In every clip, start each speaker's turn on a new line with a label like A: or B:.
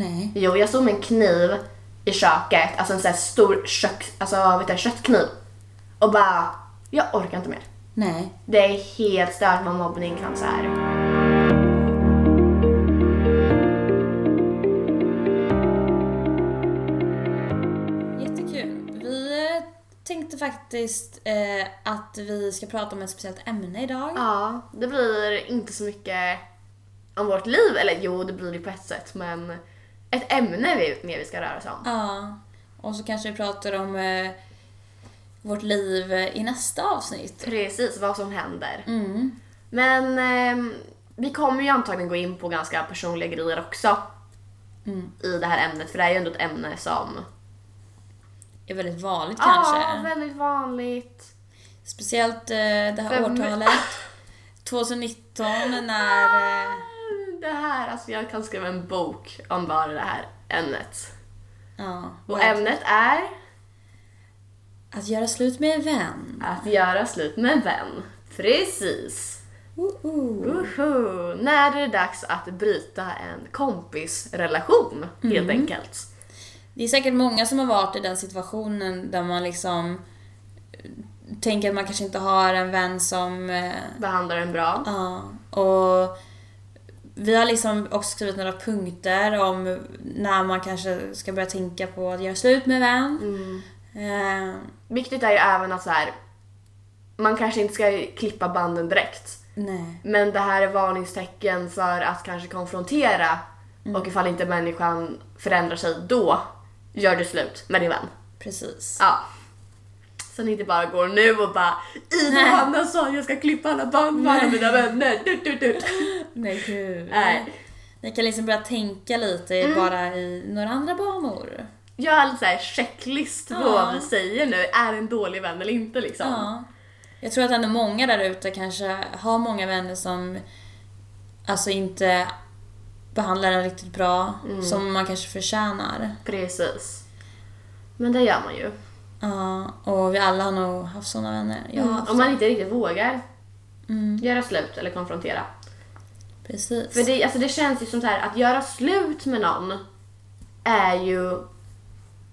A: Nej.
B: Jo, jag stod med en kniv i köket, alltså en sån här stor kök, alltså, vet du, köttkniv. Och bara, jag orkar inte mer.
A: Nej.
B: Det är helt stört vad mobbning kan så här.
A: Jättekul. Vi eh, tänkte faktiskt eh, att vi ska prata om ett speciellt ämne idag.
B: Ja, det blir inte så mycket om vårt liv, eller jo, det blir det på ett sätt, men ett ämne vi, mer vi ska röra oss om.
A: Ja. Och så kanske vi pratar om eh, vårt liv eh, i nästa avsnitt.
B: Precis, vad som händer.
A: Mm.
B: Men ehm, vi kommer ju antagligen gå in på ganska personliga grejer också
A: Mm.
B: i det här ämnet, för det här är ju ändå ett ämne som
A: Det är väldigt vanligt
B: Ja,
A: kanske.
B: väldigt vanligt.
A: Speciellt eh, det här
B: För mig-
A: årtalet. 2019 när... Eh,
B: Det här, alltså jag kan skriva en bok om bara det här ämnet.
A: ja,
B: Och
A: verkligen.
B: ämnet är
A: Att göra slut med en vän.
B: att göra slut med en vän. Precis!
A: Woho.
B: Uhu. När är det dags att bryta en kompisrelation, helt enkelt?
A: Det är säkert många som har varit i den situationen där man liksom eh, tänker att man kanske inte har en vän som... eh,
B: Behandlar den bra.
A: Ja. Och vi har liksom också skrivit några punkter om när man kanske ska börja tänka på att göra slut med en vän.
B: Mm.
A: Eh,
B: Viktigt är ju även att så här, man kanske inte ska klippa banden direkt.
A: nej.
B: Men det här är varningstecken för att kanske konfrontera och ifall inte människan förändrar sig då gör du slut med din vän.
A: Precis.
B: Ja. Så ni inte bara går nu och bara Ida och
A: Nej.
B: Hanna sa att jag ska klippa alla band med alla mina vänner. Dut, dut, dut.
A: Nej, gud. Mm.
B: Nej.
A: Ni kan liksom börja tänka lite bara i några andra banor.
B: Gör en alltså så här checklist på
A: Ja.
B: vad vi säger nu. Är det en dålig vän eller inte liksom?
A: Ja. Jag tror att ändå många där ute kanske har många vänner som alltså inte behandlar en riktigt bra,
B: Mm.
A: som man kanske förtjänar.
B: Precis. Men det gör man ju.
A: Ja, och vi alla har nog haft sådana vänner. Jag har haft
B: Om man inte riktigt vågar
A: Mm.
B: göra slut eller konfrontera.
A: Precis.
B: För det, alltså det känns ju som så här att göra slut med någon är ju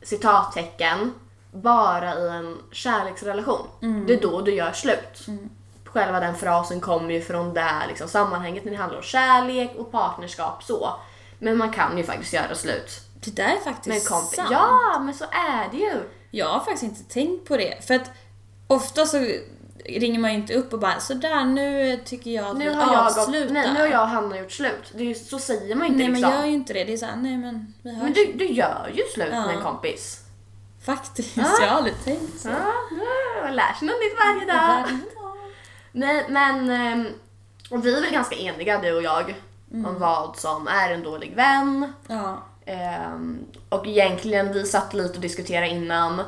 B: citattecken bara i en kärleksrelation.
A: Mm.
B: Det är då du gör slut. Själva den frasen kommer ju från det här liksom, sammanhanget när det handlar om kärlek och partnerskap så. Men man kan ju faktiskt göra slut
A: Det där är
B: med en
A: faktiskt
B: kompis.
A: sant.
B: Ja, men så är det ju.
A: Jag har faktiskt inte tänkt på det. För att ofta så ringer man ju inte upp och bara sådär nu tycker jag att
B: Nu
A: vi
B: har, jag,
A: avslutar.
B: och, nej, nu har jag och Hanna gjort slut. Det är ju, så säger man ju inte
A: Nej men
B: liksom.
A: gör ju inte det. Det är såhär, nej men vi hörs.
B: Men du, du gör ju slut
A: Ja.
B: med en kompis.
A: Faktiskt,
B: Ah.
A: jag har aldrig tänkt så.
B: Ja, man lär sig något nytt varje dag. Nej, men ehm, och vi är väl ganska eniga du och jag om vad som är en dålig vän.
A: Ja.
B: Ehm, och egentligen, vi satt lite och diskuterade innan.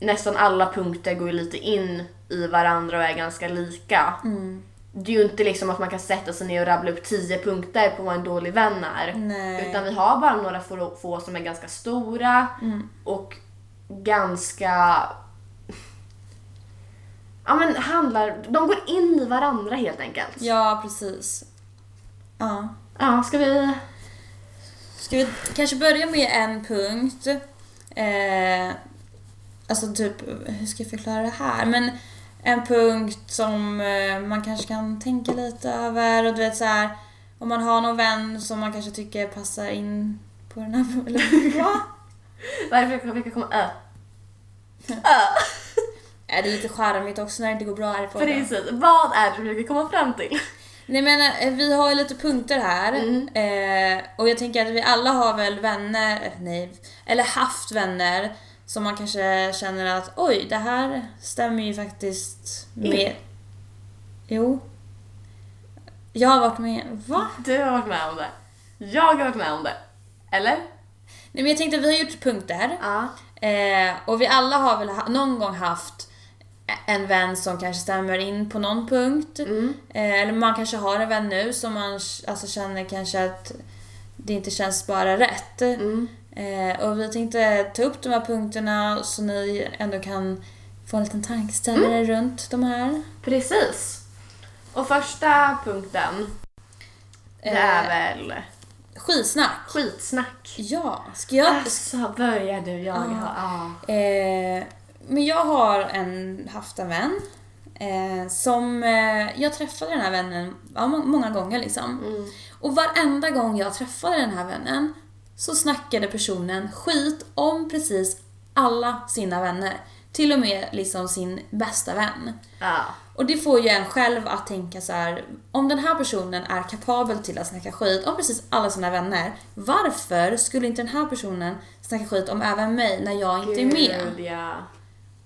B: Nästan alla punkter går ju lite in i varandra och är ganska lika.
A: Mm.
B: Det är ju inte liksom att man kan sätta sig ner och rabbla upp tio punkter på vad en dålig vän är.
A: Nej.
B: Utan vi har bara några få, få som är ganska stora
A: Mm.
B: och ganska... Ja men handlar... De går in i varandra helt enkelt.
A: Ja, precis. Ja.
B: Ja, ska vi...
A: Ska vi kanske börja med en punkt? Eh, alltså typ, hur ska jag förklara det här? Men en punkt som eh, man kanske kan tänka lite över och du vet så här om man har någon vän som man kanske tycker passar in på den här... Eller, va?
B: Varför vilka kommer... Äh,
A: Är det är lite charmigt också när det inte går bra härifrån.
B: precis. Vad är det du försöker komma fram till?
A: Nej men eh, vi har ju lite punkter här eh, och jag tänker att vi alla har väl vänner, eh, nej, eller haft vänner som man kanske känner att oj, det här stämmer ju faktiskt med... Jo. Jag har varit med... Va?
B: Du har varit med om det. Jag har varit med om det. Eller?
A: Nej men jag tänkte vi har gjort punkter
B: Ja.
A: eh, och vi alla har väl ha- någon gång haft en vän som kanske stämmer in på någon punkt.
B: Mm.
A: Eh, Eller man kanske har en vän nu som man alltså, känner kanske att det inte känns bara rätt.
B: Mm.
A: Eh, och vi tänkte ta upp de här punkterna så ni ändå kan få en liten tankeställare
B: Mm.
A: runt de här.
B: Precis. Och första punkten, det är
A: Eh,
B: väl
A: Skitsnack.
B: Skitsnack.
A: Ja, ska jag...
B: Alltså, börjar du jaga?
A: Ja.
B: Ah.
A: Eh, men jag har en, haft en vän eh, som... Eh, jag träffade den här vännen ja, må- många gånger liksom.
B: Mm.
A: Och varenda gång jag träffade den här vännen så snackade personen skit om precis alla sina vänner. Till och med liksom sin bästa vän.
B: Ja.
A: Och det får ju en själv att tänka så här: om den här personen är kapabel till att snacka skit om precis alla sina vänner, varför skulle inte den här personen snacka skit om även mig när jag inte är med?
B: Gud, ja.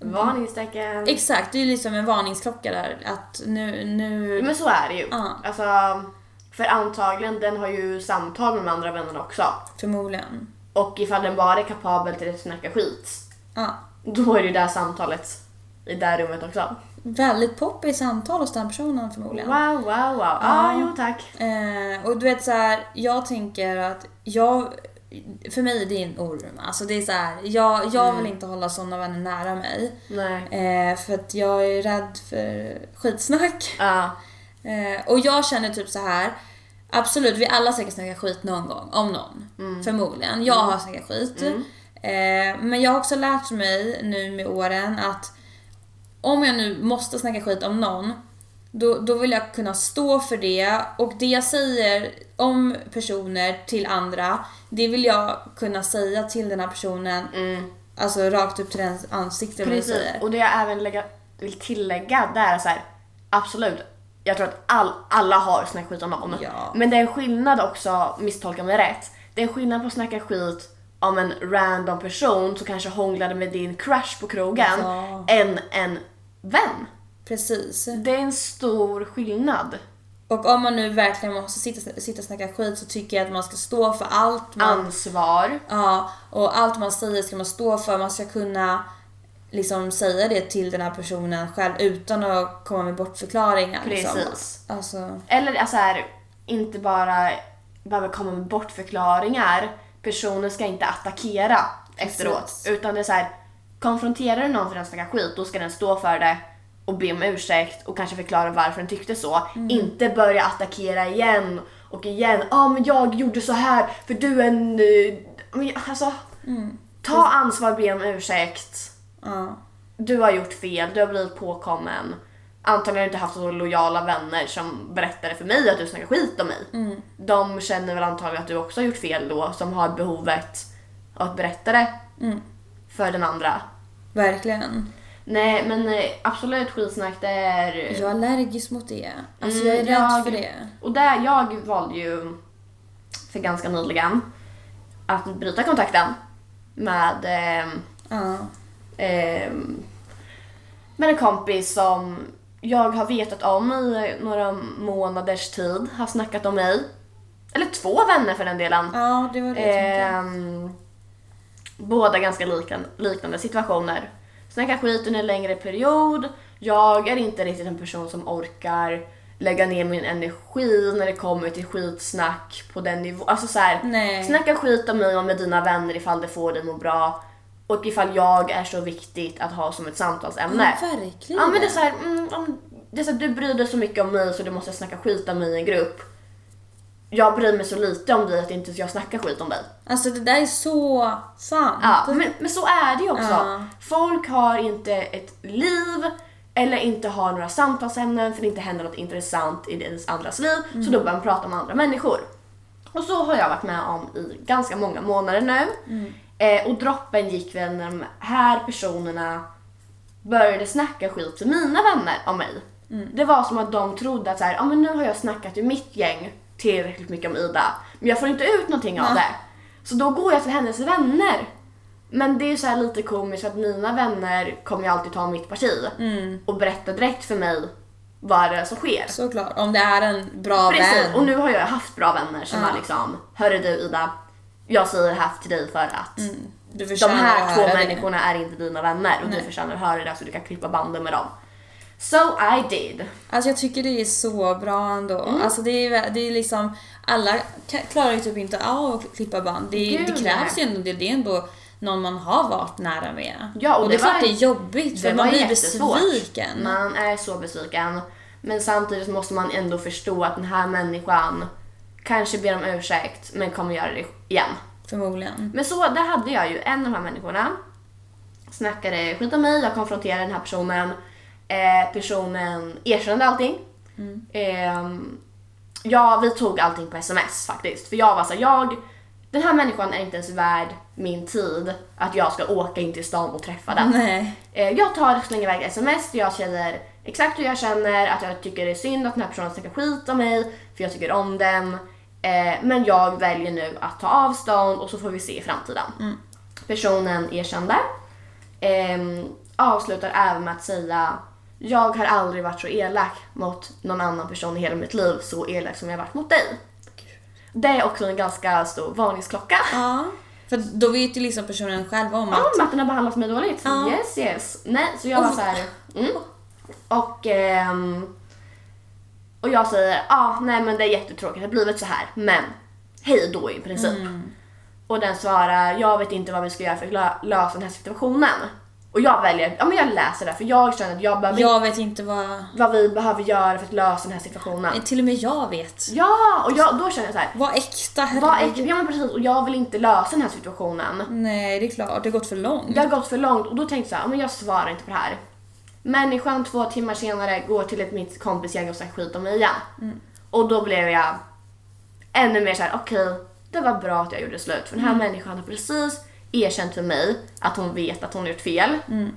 B: Varningstecken.
A: Exakt, det är ju liksom en varningsklocka där att nu, nu...
B: Men så är det ju.
A: Ja.
B: Alltså, för antagligen, den har ju samtal med de andra vännerna också.
A: Förmodligen.
B: Och ifall den bara är kapabel till att snacka skit,
A: Ja.
B: då är det ju där samtalet i det där rummet också.
A: Väldigt poppig samtal hos den personen förmodligen.
B: Wow, wow, wow. Ja, ah, jo tack.
A: Eh, och du vet så här, jag tänker att jag... För mig är det en orm. Alltså det är så här, jag, jag vill inte hålla sådana vänner nära mig.
B: Nej.
A: Eh, för att jag är rädd för skitsnack.
B: Ja.
A: Eh, och jag känner typ så här. Absolut, vi alla säkert snackar skit någon gång. Om någon.
B: Mm.
A: Förmodligen. Jag har snackat skit. Eh, men jag har också lärt mig nu med åren att om jag nu måste snacka skit om någon då, då vill jag kunna stå för det och det jag säger om personer till andra det vill jag kunna säga till den här personen
B: Mm.
A: alltså rakt upp till dens ansikte. vad jag
B: Precis.
A: säger.
B: Och det jag även lägga, vill tillägga där är så här, absolut. Jag tror att all, alla har snackat skit om någon.
A: Ja.
B: Men det är en skillnad också, misstolka mig rätt. Det är en skillnad på att snacka skit om en random person som kanske hånglade med din crush på krogen
A: Ja.
B: än en vän.
A: Precis.
B: Det är en stor skillnad.
A: Och om man nu verkligen måste sitta, sitta och snacka skit så tycker jag att man ska stå för allt man...
B: Ansvar.
A: Ja, och allt man säger ska man stå för. Man ska kunna liksom säga det till den här personen själv utan att komma med bortförklaringar. Liksom.
B: Precis.
A: Alltså,
B: Eller alltså här, inte bara behöver komma med bortförklaringar. Personen ska inte attackera efteråt.
A: Precis.
B: Utan det är så här, konfronterar du någon för den snackar skit, då ska den stå för det och be om ursäkt och kanske förklara varför den tyckte så. Inte börja attackera igen och igen. Ja ah, men jag gjorde så här för du är en... eh, men jag- Alltså, ta ansvar, be om ursäkt
A: ja.
B: du har gjort fel, du har blivit påkommen. Antagligen har du inte haft så lojala vänner som berättade för mig att du snackar skit om mig.
A: Mm.
B: De känner väl antagligen att du också har gjort fel då, som har behovet av att berätta det
A: Mm.
B: för den andra.
A: Verkligen.
B: Nej, men eh, absolut skitsnack, det är...
A: Jag är allergisk mot det. Alltså
B: Mm,
A: jag är rädd
B: jag-
A: för det.
B: Och där, jag valde ju för ganska nyligen att bryta kontakten med ehm,
A: Ja.
B: Ehm, med en kompis som jag har vetat om i några månaders tid, har snackat om mig. Eller två vänner för den delen.
A: Ja, det var det jag tänkte.
B: Ehm, båda ganska likan, liknande situationer. Snackar skit under en längre period. Jag är inte riktigt en person som orkar lägga ner min energi när det kommer till skitsnack på den nivån. Alltså så här,
A: Nej.
B: snacka skit om mig och med dina vänner ifall det får dig att må bra. Och ifall jag är så viktigt att ha som ett samtalsämne.
A: Ja, verkligen.
B: Ja men det är såhär, mm, om- det är så här, du bryr dig så mycket om mig så du måste snacka skit om mig i en grupp. Jag bryr mig så lite om dig att inte jag snackar skit om dig.
A: Alltså det där är så sant.
B: Ja, men, men så är det ju också.
A: Ja.
B: Folk har inte ett liv eller inte har några samtalsämnen för det inte händer något intressant i deras andras liv så då börjar man prata om andra människor. Och så har jag varit med om i ganska många månader nu. Eh, och droppen gick väl när de här personerna började snacka skit till mina vänner om mig.
A: Mm.
B: Det var som att de trodde att så här, ah, men nu har jag snackat i mitt gäng tillräckligt mycket om Ida, men jag får inte ut någonting av
A: Nej.
B: det. Så då går jag till hennes vänner. Men det är ju så här lite komiskt att mina vänner kommer ju alltid ta mitt parti
A: Mm.
B: och berätta direkt för mig vad det är som sker.
A: Såklart, om det är en bra
B: Precis,
A: vän.
B: och nu har jag haft bra vänner som
A: Ja.
B: har liksom, hörru du Ida, jag säger det här till dig för att
A: Mm. Du
B: de
A: förtjänar
B: här
A: att
B: två
A: höra det.
B: människorna är inte dina vänner och du förtjänar att höra det så du kan klippa banden med dem. So I did.
A: Alltså jag tycker det är så bra ändå.
B: Mm.
A: Alltså det är, vä- det är liksom, alla ka- klarar ju typ inte av att klippa band. Det,
B: Gud,
A: det krävs
B: nej.
A: ju ändå, det, det är ändå någon man har varit nära med.
B: Ja, och
A: det, är
B: det
A: klart
B: var-
A: det är jobbigt för
B: det
A: man
B: var
A: blir
B: jättesvårt. Mm.
A: besviken.
B: Man är så besviken. Men samtidigt måste man ändå förstå att den här människan kanske ber om ursäkt, men kommer göra det igen.
A: Förmodligen.
B: Men så, där hade jag ju en av de här människorna. Snackade skit om mig, jag konfronterade den här personen. Eh, personen erkände allting. Ehm, ja, vi tog allting på sms faktiskt. För jag var så här, jag, den här människan är inte ens värd min tid att jag ska åka in till stan och träffa den.
A: Nej.
B: Eh, Jag tar och slänger iväg sms där jag säger exakt hur jag känner, att jag tycker det är synd att den här personen snackar skit om mig, för jag tycker om den. Eh, Men jag väljer nu att ta avstånd och så får vi se i framtiden. Personen erkände. Ehm, avslutar även med att säga jag har aldrig varit så elak mot någon annan person i hela mitt liv, så elak som jag har varit mot dig. Det är också en ganska stor varningsklocka.
A: Ja. För då vet ju liksom personen själv om att...
B: Ja, Martin har behandlat mig dåligt.
A: Ja.
B: Yes, yes. Nej, så jag var
A: Och-
B: så här. Mm. Och, ehm, och jag säger, ja, ah, nej men det är jättetråkigt, det har blivit så här, men hej då i princip. Och den svarar, jag vet inte vad vi ska göra för att lö- lösa den här situationen. Och jag väljer, ja men jag läser det, för jag känner att jag behöver,
A: Jag vet inte vad...
B: vad vi behöver göra för att lösa den här situationen.
A: Nej, Till och med jag vet.
B: Ja, och jag, då känner jag så här,
A: Vad äkta,
B: vad
A: herregud.
B: äckligt, ja men precis, och jag vill inte lösa den här situationen.
A: Nej, det är klart. Det har gått för långt.
B: Det har gått för långt och då tänkte jag så här, "Ja, men jag svarar inte på det här. Människan två timmar senare går till ett mitt kompisgäng och snackar skit om mig igen.
A: Mm.
B: Och då blev jag ännu mer så här: okej, det var bra att jag gjorde slut. För den här
A: Mm.
B: människan har precis erkänt för mig att hon vet att hon gjort fel.
A: Mm.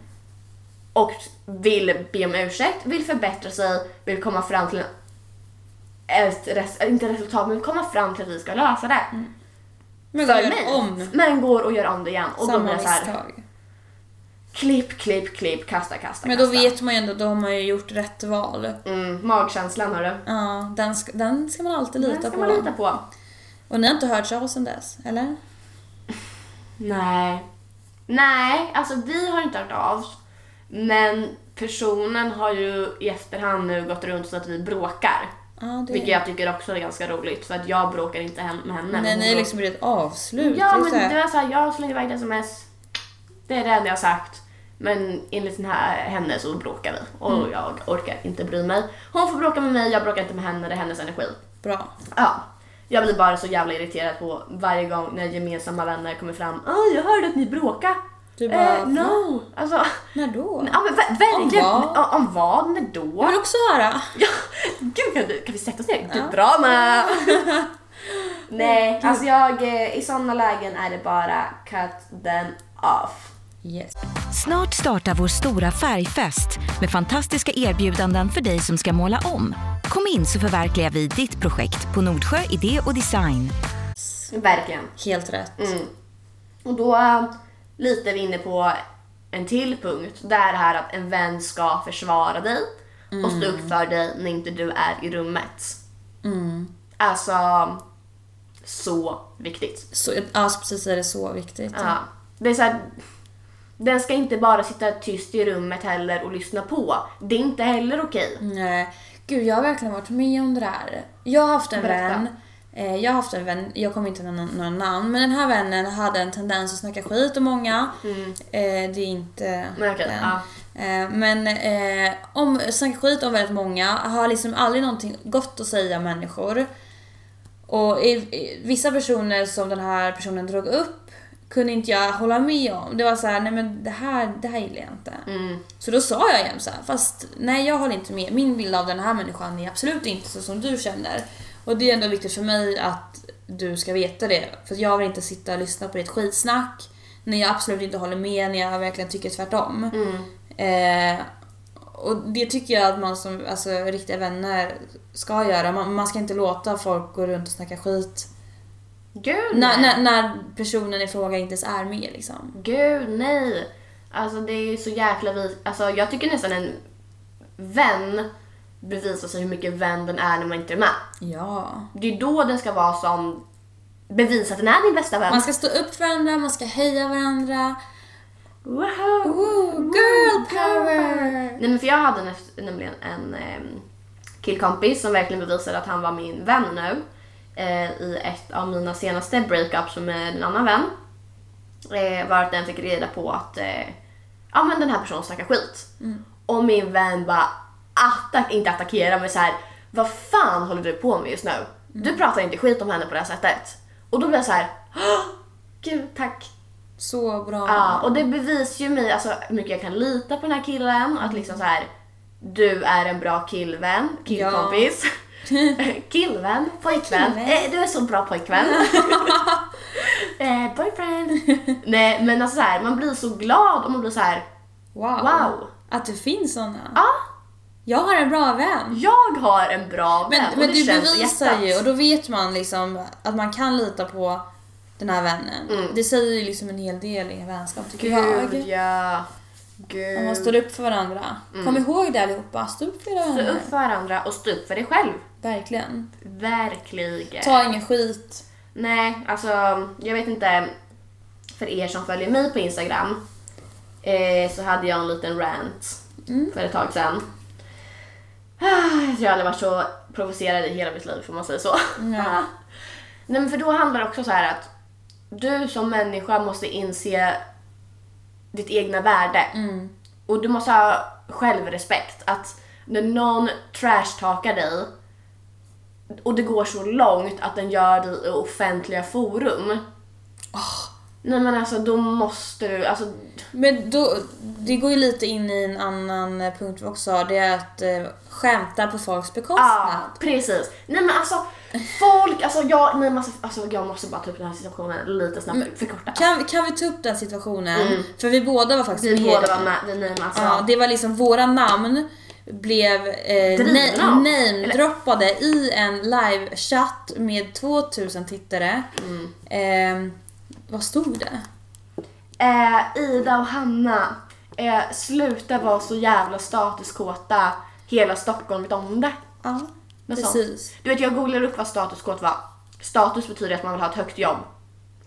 B: Och vill be om ursäkt, vill förbättra sig, vill komma fram till ett, res- inte resultat, men komma fram till att vi ska lösa det.
A: Men
B: För
A: Mm. gör
B: mig.
A: om
B: Men går och gör om det igen. Och då blir
A: samma
B: jag så här,
A: misstag.
B: Klipp, klipp, klipp, kasta, kasta,
A: Men då
B: kasta.
A: vet man ju ändå, då har man ju gjort rätt val.
B: Mm, magkänslan hörru.
A: Ja, den ska, den ska man alltid
B: Den
A: lita
B: ska
A: på.
B: man lita på.
A: Och ni har inte hört av sen dess, eller?
B: Nej. Nej, alltså vi har inte hört av oss. Men personen har ju i efterhand nu gått runt så att vi bråkar.
A: Ja, det...
B: Vilket jag tycker också är ganska roligt för att jag bråkar inte hem- med henne.
A: Nej,
B: Hon
A: ni har
B: bråkar-
A: liksom blivit ett avslut.
B: Ja,
A: det är
B: men
A: så här-
B: det var såhär, jag slänger iväg ett sms. Det är det enda jag har sagt. Men enligt den här, henne så bråkar vi och
A: Mm.
B: jag orkar inte bry mig. Hon får bråka med mig, jag bråkar inte med henne, det är hennes energi.
A: Bra.
B: Ja. Jag blir bara så jävla irriterad på varje gång när gemensamma vänner kommer fram. Åh, jag hörde att ni bråkade.
A: Du bara,
B: eh, no! Alltså,
A: När då?
B: ja, men ver- verkligen.
A: Om
B: Om vad? Om vad? När då?
A: Jag vill också höra.
B: Ja, gud, kan, du, kan vi sätta oss ner?
A: Ja.
B: Du drama! Nej, alltså jag, eh, i sådana lägen är det bara cut them off.
A: Yes.
C: Snart startar vår stora färgfest med fantastiska erbjudanden för dig som ska måla om. Kom in så förverkligar vi ditt projekt på Nordsjö Idé och Design.
B: Verkligen.
A: Helt rätt.
B: Mm. Och då eh, lite är vi inne på en till punkt. Det är det här att en vän ska försvara dig och stå upp för dig när inte du är i rummet. Alltså, så viktigt.
A: Så, ja, så precis är det så viktigt.
B: Ja. Det är så här, den ska inte bara sitta tyst i rummet heller och lyssna på. Det är inte heller okej.
A: Nej. Gud, jag har verkligen varit med om det där. Jag har haft en
B: Berätta.
A: vän. Eh, jag har haft en vän, jag kommer inte nämna några namn, men den här vännen hade en tendens att snacka skit om många. Eh, det är inte
B: Nej, Mm. okej,
A: den.
B: ja.
A: Eh, men eh, om, snacka skit om väldigt många, har liksom aldrig någonting gott att säga om människor. Och i, i, vissa personer som den här personen drog upp kunde inte jag hålla med om. Det var så här, nej men det här, det här gillar jag inte. Så då sa jag jämt så här, fast nej jag håller inte med. Min bild av den här människan är absolut inte så som du känner. Och det är ändå viktigt för mig att du ska veta det. För jag vill inte sitta och lyssna på ditt skitsnack när jag absolut inte håller med, när jag verkligen tycker tvärtom. Eh, och det tycker jag att man som alltså, riktiga vänner ska göra. Man, man ska inte låta folk gå runt och snacka skit
B: Gud
A: när,
B: nej.
A: när, när personen i fråga inte ens är med liksom.
B: Gud nej. Alltså det är ju så jäkla vis. Alltså jag tycker nästan en vän bevisar sig hur mycket vän den är när man inte är med.
A: Ja.
B: Det är då den ska vara som bevisar att den är din bästa vän.
A: Man ska stå upp för varandra, man ska heja varandra.
B: Wow.
A: Woo, girl power!
B: Nej men för jag hade nef- nämligen en em, killkompis som verkligen bevisade att han var min vän nu. Eh, I ett av mina senaste breakups med en annan vän. Eh, var att den fick reda på att eh, ja men den här personen snackar skit.
A: Mm.
B: Och min vän bara attack, inte attackera men så här. vad fan håller du på med just nu?
A: Mm.
B: Du pratar inte skit om henne på det här sättet. Och då blir jag så här, "Åh, gud tack.
A: Så bra.
B: Ja, och det bevisar ju mig alltså, hur mycket jag kan lita på den här killen. Att liksom så här, du är en bra killvän, killkompis. killvän, pojkvän.
A: Killvän.
B: Eh, du är så bra pojkvän. eh, boyfriend. Nej, men alltså så här, man blir så glad och man blir så här,
A: Wow.
B: Wow.
A: Att det finns såna.
B: ja,
A: Jag har en bra vän.
B: "Ah, jag har en bra vän.
A: Men,
B: och
A: men
B: det
A: du
B: känns i
A: bevisar
B: hjärtat.
A: ju och då vet man liksom att man kan lita på den här vännen. Det säger ju liksom en hel del i en vänskap tycker
B: Mm. Gud
A: jag.
B: ja. Gud.
A: Om man står upp för varandra. Kom ihåg det allihopa, stå upp för era
B: Mm. Stå
A: vänner.
B: upp för varandra och stå upp för dig själv.
A: Verkligen.
B: Verkligen.
A: Ta ingen skit.
B: Nej, alltså jag vet inte. För er som följer mig på Instagram eh, så hade jag en liten rant för ett tag sedan. Ah, Jag har aldrig varit så provocerad i hela mitt liv, får man säga så?
A: Ja.
B: Nej, men för då handlar det också så här att du som människa måste inse ditt egna värde.
A: Mm.
B: Och du måste ha självrespekt. Att när någon trashtalkar dig och det går så långt att den gör dig i offentliga forum. Nej men alltså då måste du, alltså
A: Men då, det går ju lite in i en annan eh, punkt vi också har. Det är att eh, skämta på folks
B: Ja,
A: bekostnad.
B: ah, precis. Nej men alltså, folk, alltså jag, nej, men alltså, alltså jag måste bara ta upp den här situationen lite snabbt, förkorta.
A: Kan, kan vi ta upp den situationen? För vi båda var faktiskt
B: Mm. Vi
A: med i
B: båda
A: den.
B: var med, vi- nej men alltså.
A: Ja, det var liksom våra namn blev eh,
B: Drivna
A: na-
B: av.
A: namedroppade i en livechatt med 2000 tittare.
B: Mm.
A: Eh, vad stod det?
B: Eh, Ida och Hanna, eh, sluta vara så jävla statuskåta, hela Stockholm vet om det.
A: Ja,
B: Något sånt.
A: precis.
B: Du vet jag googlade upp vad statuskåt var. Status betyder att man vill ha ett högt jobb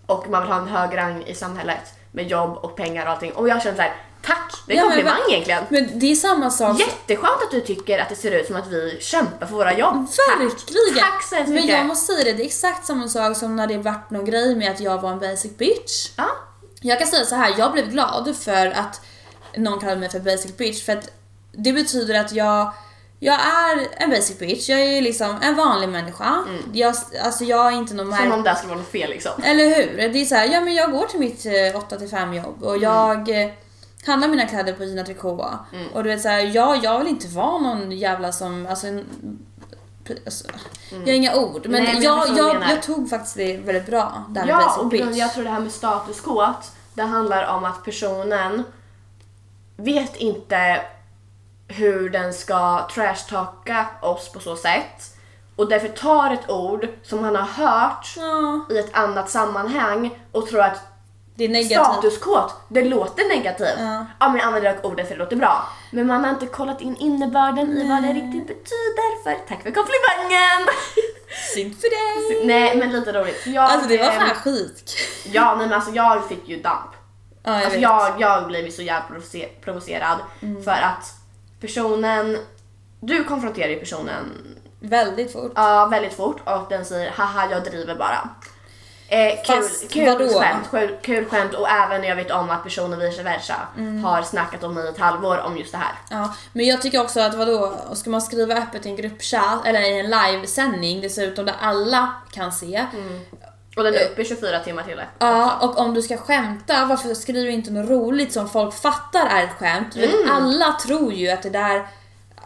B: och man vill ha en hög rang i samhället med jobb och pengar och allting. Och jag känner så här, tack! Det är en
A: Ja, men
B: komplimang
A: va-
B: egentligen.
A: Men det är samma sak.
B: Jätteskönt att du tycker att det ser ut som att vi kämpar för våra jobb.
A: Verkligen!
B: Tack så hemskt
A: Men
B: mycket.
A: jag måste säga det, det är exakt samma sak som när det vart någon grej med att jag var en basic bitch.
B: Ja.
A: Jag kan säga så här, jag blev glad för att någon kallade mig för basic bitch för att det betyder att jag, jag är en basic bitch, jag är liksom en vanlig människa. Jag, alltså jag är inte någon
B: Mm. Som
A: märk...
B: om det här skulle vara något fel liksom.
A: Eller hur? Det är så här, ja men jag går till mitt 8-5 jobb
B: Mm.
A: och jag eh, handlar mina kläder på Gina Tricot.
B: Mm.
A: Och du vet så här, ja jag vill inte vara någon jävla som, alltså, en, alltså jag har inga ord. Men,
B: Mm. Nej, men jag
A: jag,
B: förstår
A: jag,
B: vad du
A: jag,
B: menar.
A: tog faktiskt det väldigt bra, det här med
B: Ja,
A: basic
B: och
A: bitch.
B: grund- jag tror det här med statuskåt, det handlar om att personen vet inte hur den ska trashtalka oss på så sätt och därför tar ett ord som han har hört
A: Ja,
B: i ett annat sammanhang och tror att
A: det är negativt.
B: statuskåt, det låter negativt.
A: Ja.
B: Ja, men jag använder ordet för det låter bra. Men man har inte kollat in innebörden i vad det riktigt betyder för tack för komplimangen!
A: Synd för dig!
B: Nej men lite roligt. Jag,
A: Alltså det var
B: ehm,
A: fan skitkul.
B: Ja nej, men alltså jag fick ju damp.
A: Ja, jag
B: Alltså
A: vet. Mm.
B: jag, jag blev så jävla provoce- provocerad för att personen, du konfronterar ju personen
A: Väldigt fort.
B: ja, väldigt fort och den säger haha jag driver bara. Eh, kul,
A: Fast
B: kul,
A: vadå?
B: skämt, kul, kul skämt och även när jag vet om att personen vice versa
A: Mm.
B: har snackat om mig i ett halvår om just det här.
A: Ja, men jag tycker också att vadå, ska man skriva öppet i en gruppchatt eller i en livesändning dessutom där alla kan se.
B: Mm. Och den är uppe i 24 timmar till det.
A: Ja, och om du ska skämta, varför skriver du inte något roligt som folk fattar är ett skämt? Du vet, Alla tror ju att det där,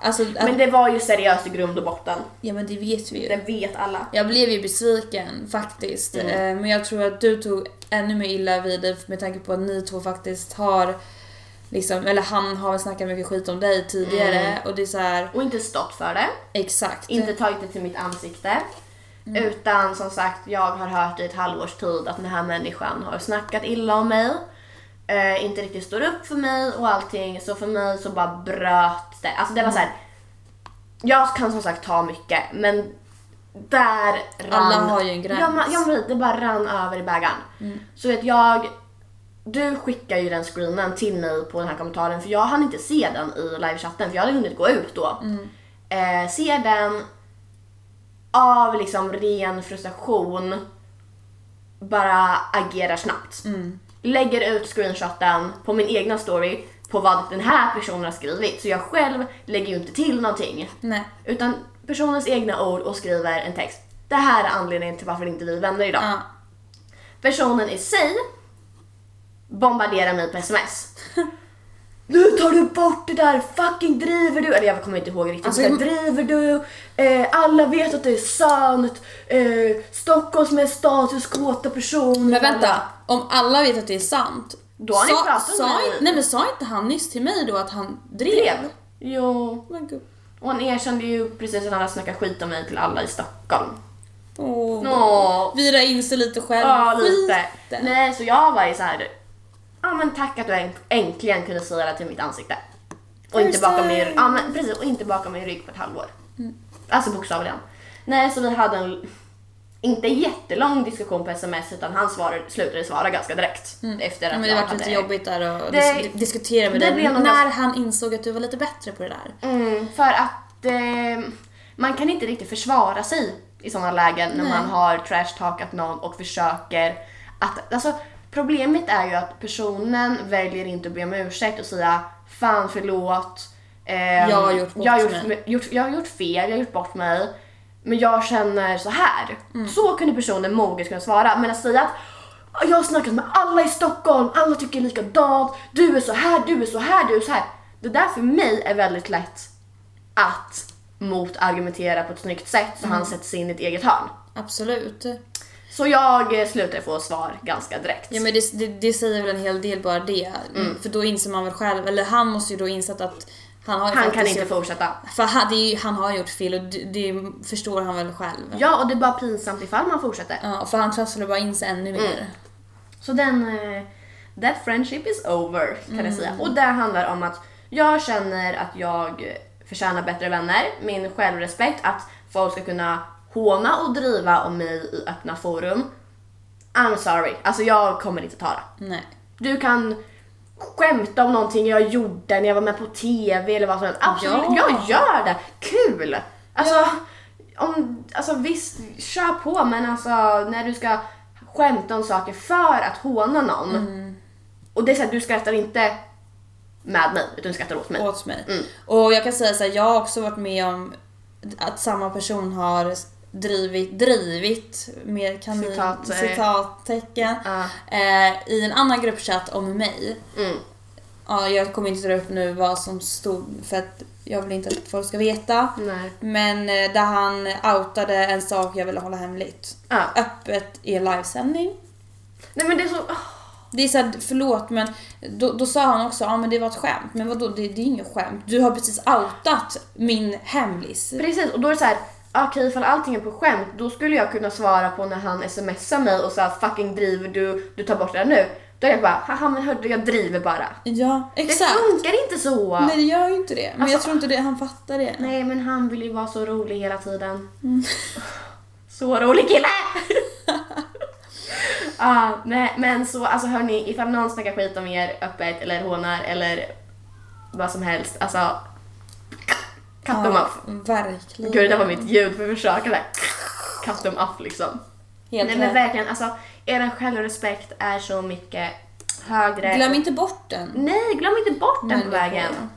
A: alltså, att,
B: Mm. Men det var ju seriöst i grund och botten.
A: ja men det vet vi ju.
B: Det vet alla.
A: Jag blev ju besviken faktiskt.
B: Mm.
A: Eh, Men jag tror att du tog ännu mer illa vid dig med tanke på att ni två faktiskt har Liksom, eller han har väl snackat mycket skit om dig tidigare
B: Mm.
A: och det är så här
B: Och inte stått för det.
A: exakt.
B: Inte tagit det till mitt ansikte. Utan som sagt, jag har hört i ett halvårs tid att den här människan har snackat illa om mig. Eh, inte riktigt står upp för mig och allting. Så för mig så bara bröt det. Alltså det var så här. Jag kan som sagt ta mycket men där rann...
A: Alla har ju en gräns. Mm.
B: Ja, men, ja, men det bara rann över i bägaren. Så vet jag... Du skickar ju den screenen till mig på den här kommentaren för jag hann inte se den i livechatten för jag hade hunnit gå ut då.
A: Mm.
B: Eh, ser den av liksom ren frustration bara agerar snabbt.
A: Mm.
B: Lägger ut screenshoten på min egna story på vad den här personen har skrivit. Så jag själv lägger ju inte till någonting.
A: Nej.
B: Utan personens egna ord och skriver en text. Det här är anledningen till varför inte vi är vänner idag.
A: Ja.
B: Personen i sig bombarderar mig på sms. Nu tar du bort det där, fucking driver du? Eller jag kommer inte ihåg riktigt.
A: Alltså,
B: men
A: jag-
B: driver du? Eh, alla vet att det är sant. Eh, Stockholms mest statuskåta person.
A: Men vänta, om alla vet att det är sant.
B: Då har ni
A: sa,
B: pratat
A: sa,
B: med-
A: Nej men sa inte han nyss till mig då att han drev?
B: Drev. Jo.
A: Men gud.
B: Och han erkände ju precis att han hade snackat skit om mig till alla i Stockholm.
A: Åh.
B: Åh.
A: Vira in sig lite själv.
B: Ja, lite.
A: Skiten.
B: Nej, så jag var ju så här. Ja, men tack att du änt- äntligen kunde säga det till mitt ansikte. Och inte,
A: First
B: bakom
A: time.
B: min, ja, men precis, och inte bakom min rygg på ett halvår.
A: Mm.
B: Alltså bokstavligen. Nej, så vi hade en inte jättelång diskussion på sms utan han svarade, slutade svara ganska direkt. Efter att
A: Mm. Ja, men
B: jag
A: det var
B: hade-
A: lite jobbigt där att
B: Det-
A: dis- diskutera med
B: det
A: dig.
B: blev nog
A: När
B: ganska-
A: han insåg att du var lite bättre på det där.
B: Mm, för att eh, man kan inte riktigt försvara sig i sådana lägen när man har trashtalkat någon och försöker att... Alltså, problemet är ju att personen väljer inte att be om ursäkt och säga “Fan, förlåt. ehm,
A: Jag har gjort bort
B: jag har gjort,
A: mig."
B: gjort, jag har gjort fel, jag har gjort bort mig. Men jag känner så här.
A: Mm.
B: Så kunde personen moget kunna svara. Men att säga att “Jag har snackat med alla i Stockholm, alla tycker likadant, du är så här, du är så här, du är så här”. Det där för mig är väldigt lätt att motargumentera på ett snyggt sätt så
A: Mm.
B: han sätter sig in i ett eget hörn.
A: Absolut.
B: Så jag eh, slutar få svar ganska direkt.
A: Ja men det, det, det säger väl en hel del bara det.
B: Mm.
A: För då inser man väl själv, eller han måste ju då insett att han har ju
B: han
A: faktiskt
B: kan inte
A: gjort,
B: fortsätta.
A: För han, det är ju, han har gjort fel och det, det förstår han väl själv.
B: Ja, och det är bara pinsamt ifall man fortsätter.
A: Ja, för han trasslar bara in sig ännu
B: Mm.
A: mer.
B: Så den... eh, That friendship is over, kan jag säga. Och det handlar om att jag känner att jag förtjänar bättre vänner, min självrespekt, att folk ska kunna håna och driva om mig i öppna forum. I'm sorry, alltså jag kommer inte ta det.
A: Nej.
B: Du kan skämta om någonting jag gjorde när jag var med på TV eller vad som helst. Absolut,
A: Ja.
B: jag gör det! Kul! Alltså, om, alltså visst, kör på men alltså när du ska skämta om saker för att håna någon. Och det är såhär, du skrattar inte med mig utan du skrattar åt mig. Mm.
A: åt mig. Och jag kan säga så här, jag har också varit med om att samma person har drivit, drivit med kanin,
B: Citat, eh.
A: citattecken
B: Ja.
A: eh, i en annan gruppchatt om mig.
B: Mm.
A: Ja, jag kommer inte dra upp nu vad som stod för att jag vill inte att folk ska veta.
B: Nej.
A: Men eh, där han outade en sak jag ville hålla hemligt.
B: Ja.
A: Öppet i en livesändning.
B: Nej men det är så...
A: Det är såhär, förlåt men då, då sa han också ja men det var ett skämt. Men vadå det, det är inget skämt. Du har precis outat min hemlis.
B: Precis, och då är det så här. ah, Okej, ifall allting är på skämt, då skulle jag kunna svara på när han smsar mig och sa fucking driver du, du tar bort det där nu. Då är jag bara, haha men hörde jag driver bara.
A: Ja exakt.
B: Det funkar inte så!
A: Nej det gör ju inte det. Men jag
B: Alltså-
A: tror inte det, han fattar det.
B: Nej, men han vill ju vara så rolig hela tiden.
A: Mm.
B: Så rolig kille! ah, nej, men så alltså hörni, ifall någon snackar skit om er öppet eller hånar eller vad som helst, alltså cut them
A: Ja,
B: off.
A: verkligen.
B: Gud, det där var mitt ljud för försöka där. Cut them off liksom.
A: Helt
B: Nej
A: Nej,
B: men verkligen, alltså er självrespekt är så mycket högre.
A: Glöm inte bort den.
B: Nej, glöm inte bort den på
A: Människor.
B: vägen.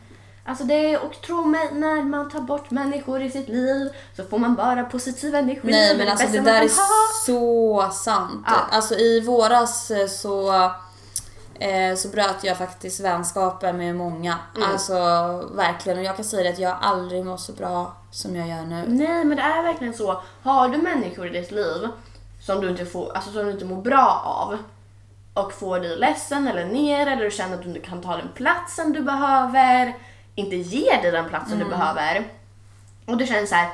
B: Alltså det är, och tro mig, när man tar bort människor i sitt liv så får man bara positiv energi.
A: Nej men
B: Det
A: alltså
B: bästa
A: det
B: man
A: där
B: kan
A: är
B: ha.
A: så sant.
B: Ja.
A: Alltså i våras eh, så, eh, så bröt jag faktiskt vänskapen med många.
B: Mm.
A: Alltså verkligen. Och jag kan säga det att jag aldrig mår så bra som jag gör nu.
B: Nej men det är verkligen så. Har du människor i ditt liv som du inte, får, alltså, som du inte mår bra av och får dig ledsen eller ner eller du känner att du inte kan ta den platsen du behöver, inte ger dig den platsen du behöver och du känner så här,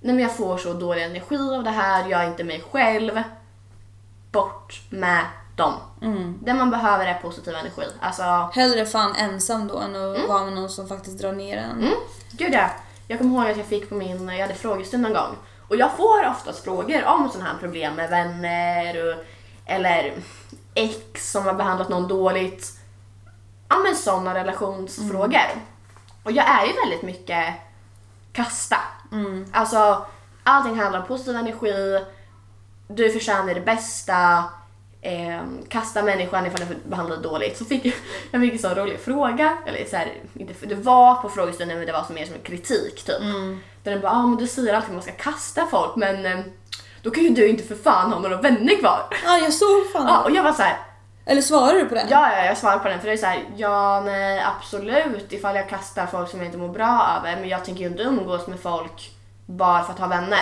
B: nej men jag får så dålig energi av det här, jag är inte mig själv. Bort med dem. Det man behöver är positiv energi. Alltså,
A: Hellre fan ensam då än att vara med någon som faktiskt drar ner en.
B: Mm, gud ja. Jag kommer ihåg att jag fick på min, jag hade frågestund någon gång. Och jag får oftast frågor om sådana här problem med vänner och, eller ex som har behandlat någon dåligt. Ja men sådana relationsfrågor. Och jag är ju väldigt mycket kasta.
A: Mm.
B: Alltså allting handlar om positiv energi, du förtjänar det bästa, eh, kasta människan ifall du behandlar dig dåligt. Så fick jag, jag fick en sån rolig fråga, eller så här, inte, det var på Mm. frågestunden men det var som mer som en kritik typ. Där den bara, ah, men du säger alltid att man ska kasta folk men eh, då kan ju du inte för fan ha några vänner kvar.
A: Ja, jag såg fan
B: Ja, och jag var så här,
A: Eller svarar du på den?
B: ja, ja, jag svarar på den för det är så här, ja nej absolut ifall jag kastar folk som jag inte mår bra över men jag tänker ju inte umgås med folk bara för att ha vänner.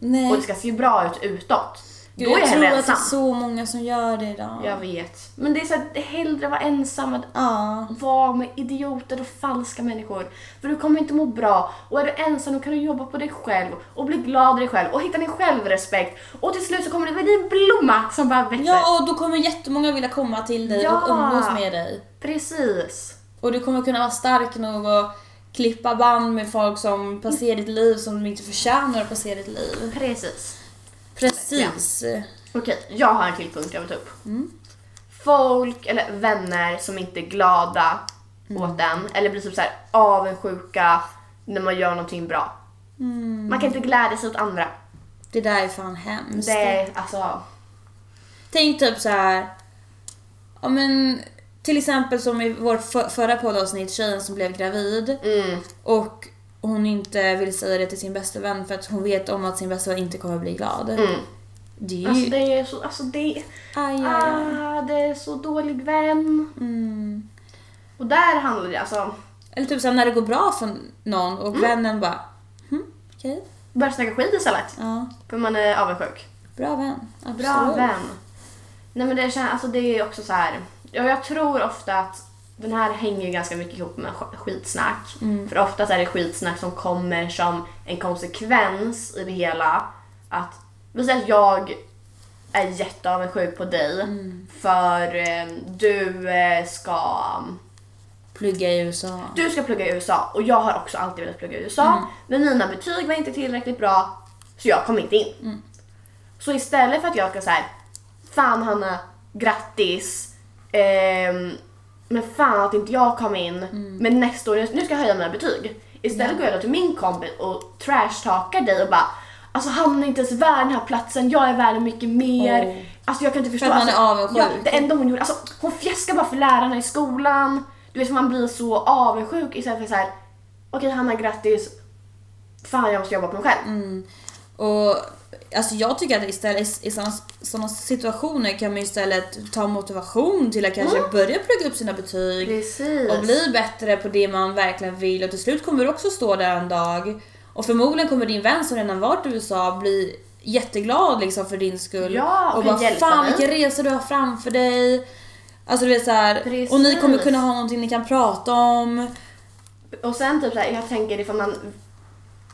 A: Nej.
B: Och det ska se bra ut utåt.
A: Gud,
B: då är
A: jag
B: jag
A: tror
B: hellre
A: att det är
B: ensam.
A: så många som gör det idag.
B: Jag vet. Men det är så här, det är hellre vara ensam än
A: Ja.
B: Var med idioter och falska människor. För du kommer inte må bra. Och är du ensam då kan du jobba på dig själv och bli glad i dig själv och hitta din självrespekt. Och till slut så kommer det bli en blomma som bara växer.
A: ja, och då kommer jättemånga vilja komma till dig
B: Ja.
A: och umgås med dig.
B: Precis.
A: Och du kommer kunna vara stark nog att klippa band med folk som passerar ditt liv som inte förtjänar att passera ditt liv.
B: Precis.
A: Precis.
B: Okej, jag har en till punkt jag vill ta upp. Folk eller vänner som inte är glada åt en eller blir typ så här avundsjuka när man gör någonting bra. Man kan inte glädja sig åt andra.
A: Det där är fan hemskt.
B: Det är alltså...
A: Tänk typ så här. Ja men till exempel som i vårt för- förra poddavsnitt, tjejen som blev gravid
B: Mm.
A: och hon inte vill säga det till sin bästa vän för att hon vet om att sin bästa vän inte kommer bli glad.
B: Mm.
A: Det är ju...
B: Alltså det är så, alltså det,
A: Aj, aj, aj.
B: ah, det är så dålig vän.
A: Mm.
B: Och där handlar det alltså,
A: Eller typ såhär när det går bra för någon
B: Mm.
A: och vännen bara hm, okej,
B: börja snacka skit istället.
A: ja,
B: För man är avundsjuk.
A: bra vän. Absolut.
B: Bra vän. Nej men det känns, alltså det är också så här. Ja, jag tror ofta att den här hänger ju ganska mycket ihop med sk- skitsnack. För ofta är det skitsnack som kommer som en konsekvens i det hela. Att, vi säger att jag är jätteavundsjuk på dig för eh, du eh, ska
A: Plugga i USA.
B: du ska plugga i USA och jag har också alltid velat plugga i USA men mina betyg var inte tillräckligt bra så jag kom inte in. Så istället för att jag ska säga fan Hanna, grattis, ehm, men fan att inte jag kom in, men nästa år, nu ska jag höja mina betyg. Istället går jag då till min kompis och trashtalkar dig och bara Alltså han är inte ens värd den här platsen, jag är värd mycket mer.
A: Åh.
B: Alltså jag kan inte förstå.
A: att man
B: alltså,
A: är avundsjuk.
B: Ja, det enda hon gjorde, alltså hon fjäskar bara för lärarna i skolan. Du vet man blir så avundsjuk istället för så här. okej Hanna grattis, fan jag måste jobba på mig själv.
A: Mm. Och alltså jag tycker att istället i sådana, sådana situationer kan man ju istället ta motivation till att kanske börja plugga upp sina betyg
B: Mm. Precis.
A: och bli bättre på det man verkligen vill och till slut kommer du också stå där en dag och förmodligen kommer din vän som redan varit i USA bli jätteglad liksom för din skull
B: Ja, och
A: och bara
B: hjälpa
A: fan
B: dig."
A: vilken resa du har framför dig. Alltså du vet såhär, och ni kommer
B: Precis.
A: kunna ha någonting ni kan prata om.
B: Och sen typ så här, jag tänker ifall man,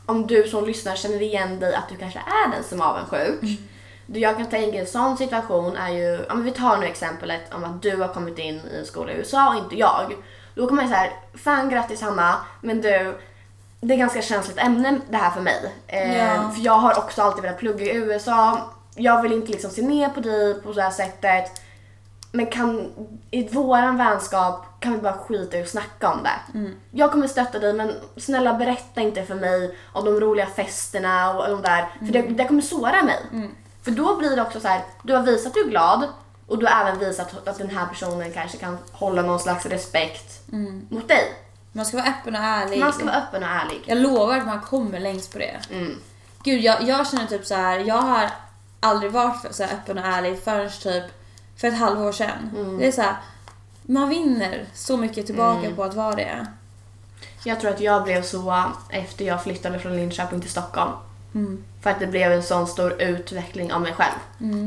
B: om du som lyssnar känner igen dig att du kanske är den som är avundsjuk. Det Jag kan tänka en sån situation är ju, ja, men vi tar nu exemplet om att du har kommit in i en skola i USA och inte jag. Då kommer jag säga fan grattis Hanna, men du, det är ganska känsligt ämne det här för mig. Eh,
A: Ja.
B: För jag har också alltid velat plugga i USA. Jag vill inte liksom se ner på dig på det här sättet. Men kan, i våran vänskap kan vi bara skita i att snacka om det. Jag kommer stötta dig men snälla berätta inte för mig om de roliga festerna och de där. För det, det kommer såra mig. För då blir det också så här, du har visat att du är glad och du har även visat att den här personen kanske kan hålla någon slags respekt mot dig.
A: Man ska vara öppen och ärlig.
B: Man ska vara öppen och ärlig.
A: Jag lovar att man kommer längst på det. Gud, jag, jag känner typ så här. jag har aldrig varit för- så här öppen och ärlig förrän typ för ett halvår sedan. Det är så här, man vinner så mycket tillbaka på att vara det.
B: Jag tror att jag blev så eh, efter jag flyttade från Linköping till Stockholm. För att det blev en sån stor utveckling av mig själv.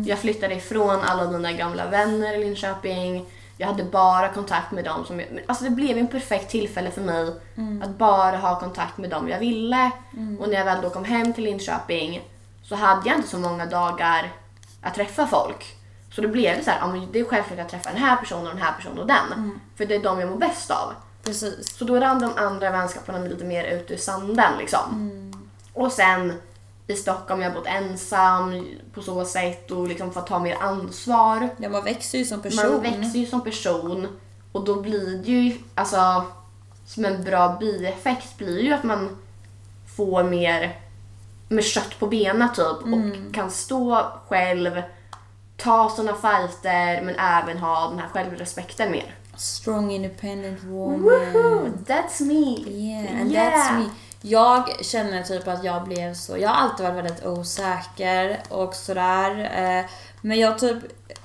B: Jag flyttade ifrån alla mina gamla vänner i Linköping. Jag hade bara kontakt med dem som jag, men Alltså det blev en perfekt tillfälle för mig att bara ha kontakt med dem jag ville. Och när jag väl då kom hem till Linköping så hade jag inte så många dagar att träffa folk. Så det blev så här, ja, men det är självklart att jag träffar den här personen och den här personen och den. För det är de jag mår bäst av.
A: Precis.
B: Så då rann de andra vänskaperna lite mer ut ur sanden liksom.
A: Mm.
B: Och sen i Stockholm, jag har bott ensam på så sätt och liksom fått ta mer ansvar.
A: Ja, man växer ju som person.
B: Man växer ju som person och då blir det ju alltså som en bra bieffekt blir ju att man får mer med kött på benen typ
A: Mm.
B: och kan stå själv, ta såna fighter men även ha den här självrespekten mer.
A: Strong independent woman.
B: Woohoo! That's me!
A: Yeah, and
B: Yeah.
A: that's me. Jag känner typ att jag blev så, jag har alltid varit väldigt osäker och sådär. Eh, Men jag typ,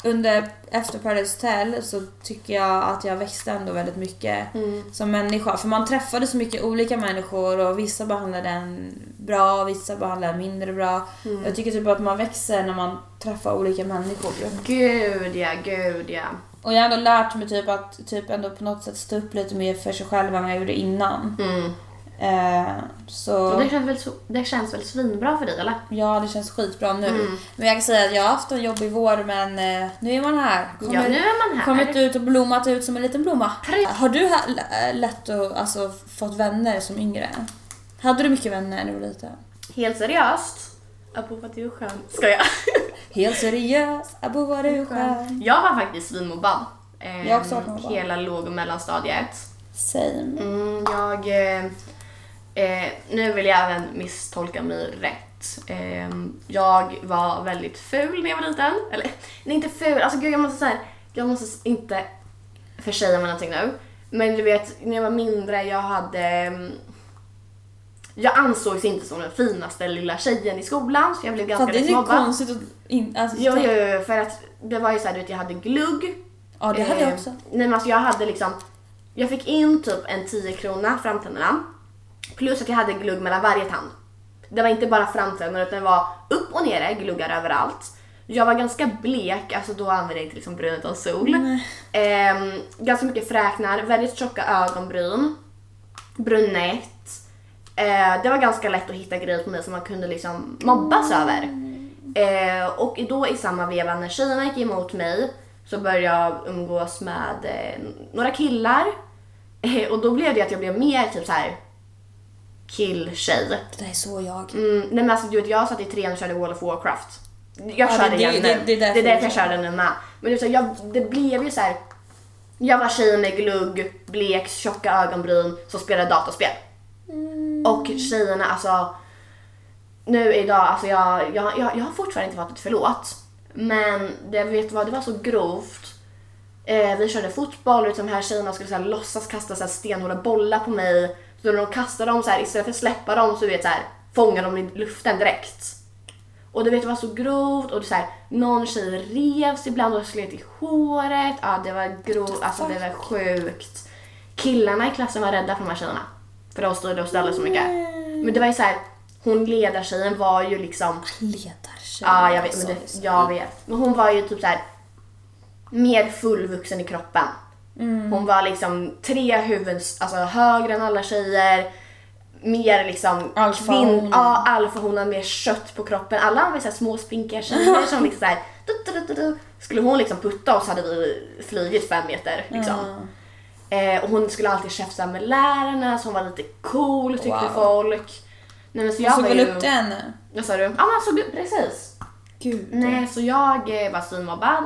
A: under, efter Paradise Hotel så tycker jag att jag växte ändå väldigt mycket som människa. För man träffade så mycket olika människor och vissa behandlade en bra, vissa behandlade en mindre bra. Jag tycker typ att man växer när man träffar olika människor.
B: Gud ja, gud ja.
A: Och jag har ändå lärt mig typ att typ ändå på något sätt stå upp lite mer för sig själv än vad jag gjorde innan. Eh,
B: Och
A: så
B: Mm. det, känns väl, så- det känns väl svinbra för dig eller?
A: ja, det känns skitbra nu.
B: Mm.
A: Men jag kan säga att jag har haft en jobbig vår men eh, nu är man här. Kommer,
B: Ja, nu är man här.
A: Kommit ut och blommat ut som en liten blomma.
B: Precis.
A: Har du ha- l- lätt att alltså, fått vänner som yngre? Hade du mycket vänner när du var liten?
B: Helt seriöst. Apropå att du är skön. Ska jag?
A: Helt seriös, abo vad du är skön.
B: Jag var faktiskt svinmobbad. eh,
A: Jag har också varit mobbad.
B: Hela låg och mellanstadiet.
A: Same.
B: Mm, jag... Eh, eh, nu vill jag även misstolka mig rätt. Eh, jag var väldigt ful när jag var liten. Eller, nej inte ful, alltså gud jag måste säga jag måste s- inte försäga mig någonting nu. Men du vet, när jag var mindre, jag hade... mm, Jag ansågs inte som den finaste lilla tjejen i skolan, så jag blev
A: Fan,
B: ganska
A: det är
B: lätt
A: ju
B: mobbad.
A: konstigt att in, alltså,
B: Jo, jo, jo, för att det var ju såhär, du vet, jag hade glugg,
A: Ja, det hade jag
B: Eh,
A: också.
B: Nej men alltså jag hade liksom, jag fick in typ en 10 krona framtänderna. Plus att jag hade glugg mellan varje tand. Det var inte bara framtänder utan det var upp och nere, gluggar överallt. Jag var ganska blek, alltså då använde jag inte liksom brun utan sol. Ehm, ganska mycket fräknar, väldigt tjocka ögonbryn. Brunett. Eh, det var ganska lätt att hitta grejer på mig som man kunde liksom mobbas över. Eh, och då i samma veva när tjejerna gick emot mig så började jag umgås med eh, några killar. Eh, och då blev det att jag blev mer typ så här kill-tjej.
A: Det där är så jag.
B: Mm, nej men alltså du vet, jag satt i trean och körde World of Warcraft. Jag
A: Ja,
B: kör
A: det-
B: det igen
A: det-
B: nu.
A: det- det är därför
B: därför
A: du
B: jag kör det nu med. Men det, är så, här, jag, det blev ju så här. Jag var tjejen med glugg, blek, tjocka ögonbryn som spelade dataspel.
A: Mm.
B: Och tjejerna alltså. Nu idag, alltså jag, jag, jag, jag har fortfarande inte fattat förlåt. Men det, vet du vad, det var så grovt. Eh, vi körde fotboll och de här tjejerna skulle så här, låtsas kasta så här, stenhårda bollar på mig. Så när de kastade dem så här, istället för att släppa dem så, du vet, så här, fångade de i luften direkt. Och du vet, det var så grovt och det, så här, någon tjej revs ibland och slet i håret. Ja, det var grovt, alltså det var sjukt. Killarna i klassen var rädda för de här tjejerna. För de styrde och ställde så mycket. Men det var ju så här, hon ledartjejen var ju liksom
A: Ledartjej.
B: Ja, Ah, jag vet.
A: alltså.
B: Men det, jag vet. Men hon var ju typ så här mer fullvuxen i kroppen.
A: Mm.
B: Hon var liksom tre huvuden, alltså högre än alla tjejer. Mer liksom
A: Alfa hon.
B: Ja, alfa hon har mer kött på kroppen. Alla var så här små spinkiga tjejer som liksom så här, du, du, du, du, du. Skulle hon liksom putta oss hade vi flugit fem meter liksom. Eh, och hon skulle alltid käfta med lärarna så hon var lite cool tyckte
A: Wow.
B: folk. Nej, men så jag
A: Jag såg
B: var
A: väl
B: ju...
A: upp till henne?
B: Vad sa du? Ja men alltså gud, precis.
A: Gud.
B: Nej, så jag eh, var svinmobbad